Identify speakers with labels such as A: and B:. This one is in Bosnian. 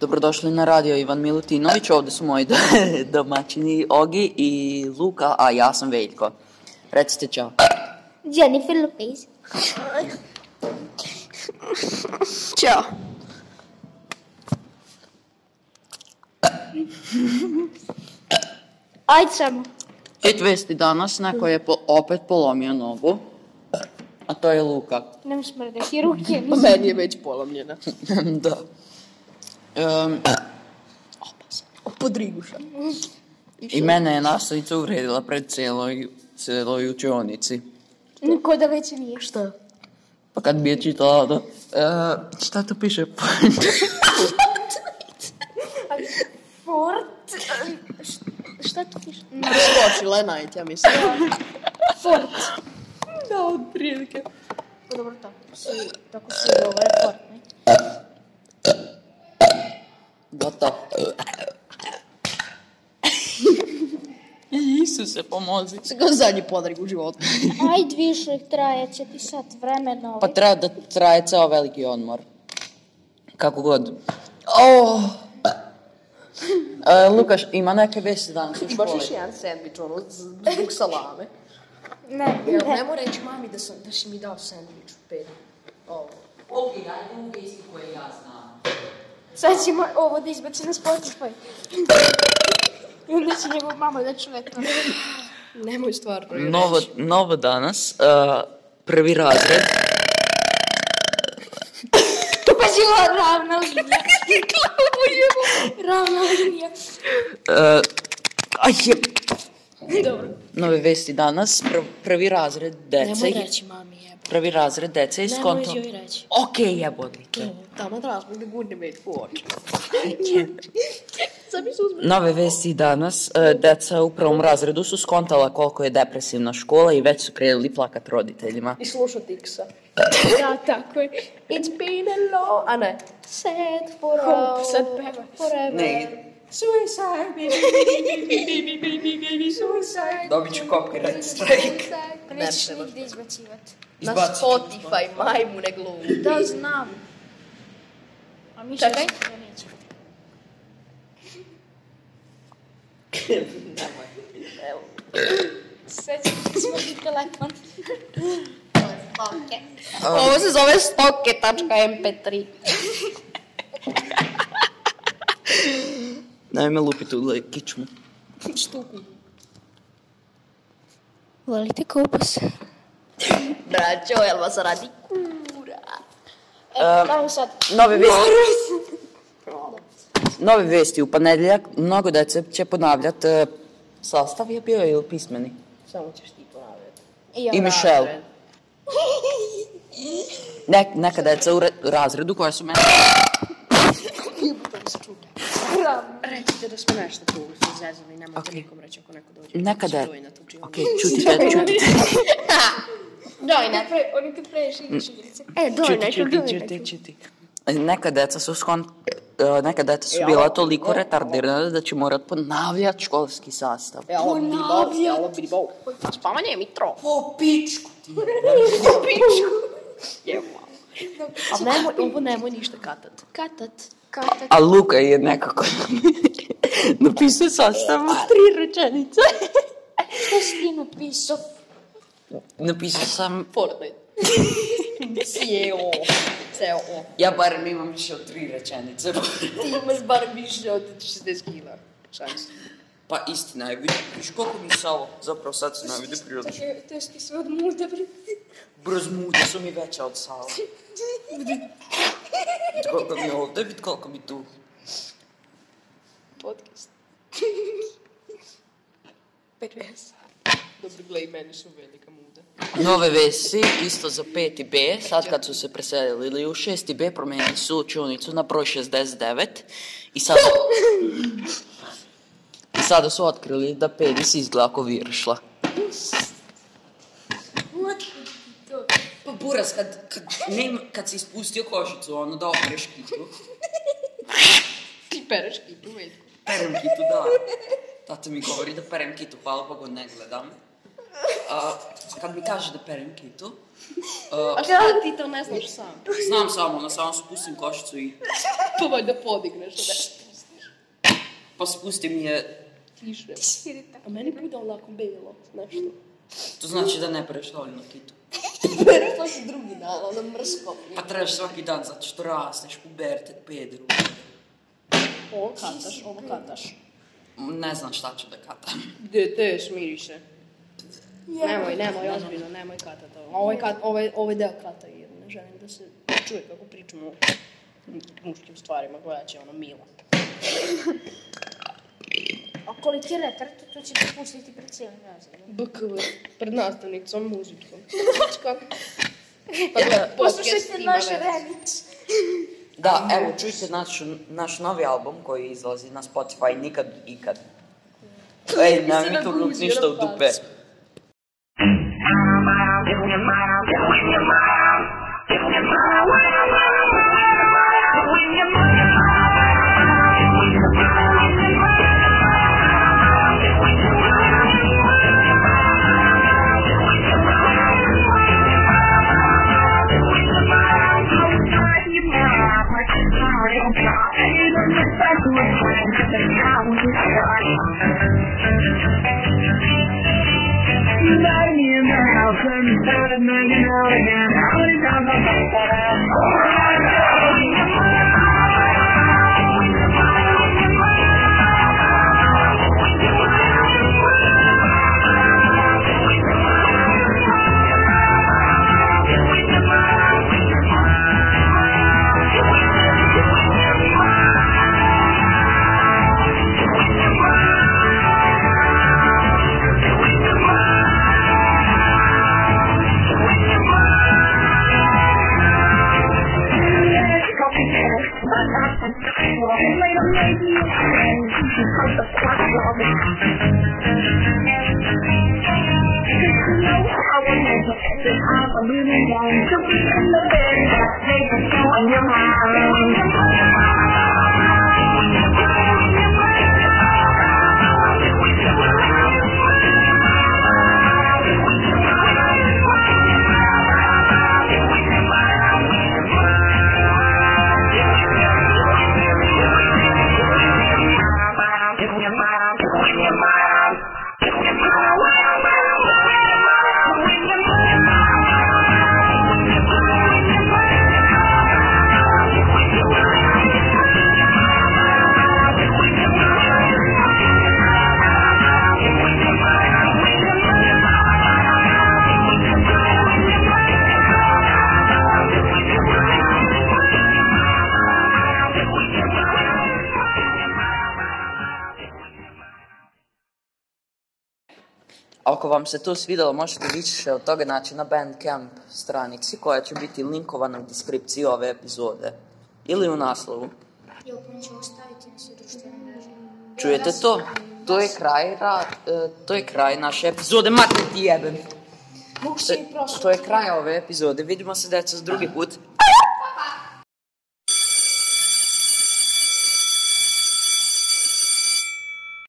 A: Dobrodošli na radio Ivan Milutinović, ovdje su moji do- domaćini Ogi i Luka, a ja sam Veljko. Recite čao.
B: Jennifer Lopez.
C: Ćao.
B: Ajde samo.
A: Hit vesti danas, neko je po, opet polomio nogu, a to je Luka.
B: Ne mi smrde, i ruke.
C: Pa meni je već polomljena.
A: da. Em,
C: Podriguša.
A: I mene je nastavnica uvredila pred cijeloj, cijeloj učionici.
B: Niko da već nije.
C: Šta?
A: Pa kad bi je čitala da... E, šta tu piše?
B: Fort. Šta tu piše?
C: Skočila je najt, ja mislim.
B: Fort. Pa
C: Da, od prilike.
B: Dobro, tako si, tako si govore fort, ne?
A: Gotovo. Isuse, pomozi.
C: Sve zadnji podrig u životu.
B: Ajde više, traje će ti sat vremena ovaj.
A: Pa treba da traje ceo veliki odmor. Kako god. Oh. E, Lukaš, ima neke vesti danas u
C: Baš
A: školi.
C: još jedan sandvič, ono, z- zbog salame.
B: Ne,
C: Jel,
B: ne.
C: ne mora reći mami da, sam, da si mi dao sandvič u pedu. Ovo.
A: Ok, dajte mu vesti koje ja znam.
B: Sad ćemo ovo da izbaci na Spotify. I onda će njegov mama da čuje to.
C: Nemoj stvarno reći.
A: Novo, novo danas, uh, prvi razred.
B: Pa žila ravna linija. Ravna linija.
A: Uh, aj, je,
C: Dobro.
A: nove vesti danas, pr prvi razred dece.
C: Nemoj reći mami, jebo.
A: Prvi razred dece je
C: Nemoj
A: skonto.
C: joj reći.
A: Ok, jebodlike.
C: Tamo da razmi da gurne me u oči. Sad mi se uzme.
A: Nove vesti danas, e, deca u prvom razredu su skontala koliko je depresivna škola i već su krenuli plakat roditeljima.
C: I slušati X-a.
B: Da, tako je.
C: It's been a long... A ne.
B: е. Sad for
C: Hope,
B: all.
C: sad peva.
B: Forever.
A: Ne.
C: Suicide, baby, baby, baby, baby, baby, suicide.
A: Dobit ću copyright
B: Ne Nećeš nigde izbacivati.
C: Na
A: Izbaci.
C: Spotify, majmune glumu.
B: Da, znam. A mi
C: Čekaj.
B: šest da neće.
C: Evo.
B: Sad ću izvati telefon.
C: Ovo se zove stoke.mp3.
A: Daj me lupiti u le- kičmu.
C: Štuku.
B: Volite kupus?
C: Braćo, jel vas radi kura?
B: E, dajmo sad.
A: Nove vesti, nove vesti u ponedjeljak, mnogo dece će ponavljati e, sastav je bio ili pismeni.
C: Samo ćeš ti ponavljati.
B: I ja.
A: I Michelle. Nek, neka deca u re, razredu koja su mene...
C: Jebote mi se čude. Recite da smo nešto tu zezali, nemojte
A: Okej.
C: nikom reći ako neko dođe.
A: Neka
C: Nekada.
A: de...
C: Dojna tu učionicu.
A: Ok, čutite, čutite,
B: Dojna. Oni kad previš igraš igrice. E,
A: čuti,
B: dojna ću
A: čuti,
B: dojna
A: čuti,
B: ću.
A: čuti. Neka deca su skon... e, Neka deca su bila toliko retardirana da će morat ponavljati školski sastav.
C: E, alo, bidibau, e, alo, bidibau. Spavanje je mi tro.
A: Po pičku ti.
C: Jebo. A nemoj, ovo nemoj ništa katat. Katat.
B: Kata.
A: A Luka je nekako napisao sastav u tri rečenice.
B: Šta si ti napisao?
A: Napisao sam...
C: Fortnite. Sjeo. Ceo.
A: Ja barem imam više od tri rečenice.
C: Ti imaš bar više od 60 kila. Šans.
A: Pa istina je, vidiš vidiš koliko mi se ovo zapravo sad se najvide prirodno.
B: To si ti sve od muda, bre.
A: Brz muda su mi veća od sala. Vidi koliko mi je ovdje, vidi koliko mi tu.
C: Podcast.
B: Pervers.
C: Dobro, gle, i meni su velika muda.
A: Nove vesi, isto za 5 B, sad kad su se preselili ili u 6 B promijenili su učionicu na broj 69 i sada... I sada su otkrili da penis izgleda kao viršla. Pa buras, kad, kad, nema, kad si ispustio košicu, ono da opereš kitu,
C: Ti pereš kitu, veliko.
A: perem kitu, da. Tata mi govori da perem kitu, hvala Bogu ne gledam.
D: a, kad mi kaže da perem kitu,
C: A šta ti to ne znaš sam?
D: znam samo, na samo spustim košicu i
C: Pa valjda podigneš. Ne.
D: pa spustim je,
C: Tiše.
B: Širita.
C: A meni bude onako bilo. Nešto.
D: to znači da ne pereš dovoljno kitu.
C: Prešla si drugi dan, ono mrsko.
D: Pa trebaš svaki dan zato što rasteš, pubertet, pedru.
C: Ovo kataš, ovo kataš.
D: Ne znam šta ću da katam.
C: Gdje te šmiriše?
B: Е,
C: Nemoj, nemoj, ozbiljno, nemoj katat ovo. Ovaj, kat, ovaj, ovaj deo kata jer ne želim da se čuje kako pričamo o muškim stvarima, gledat će ono Mila.
B: A koliki je retard, to će ti pustiti pred cijelim razredom.
C: BKV, pred nastavnicom, muzikom. Kako? Pa gleda,
B: Poslušajte naš remix.
D: Da, evo, čujte naš, naš novi album koji izlazi na Spotify nikad, ikad. Ej, nam
C: Mislim da
D: je tu grup
C: guzi,
D: ništa u
C: ono,
D: dupe.
C: pac.
D: Ako vam se to svidjelo, možete više od toga naći na Bandcamp stranici koja će biti linkovana u deskripciji ove epizode. Ili u naslovu.
B: Jo, pa ću ostaviti na sve društvene mreže.
D: Čujete to? To je kraj, ra, e, to je kraj naše epizode, mater ti jebem.
B: Mogu
D: To,
B: se i prošlo.
D: to je kraj ove epizode, vidimo se deco s drugi put.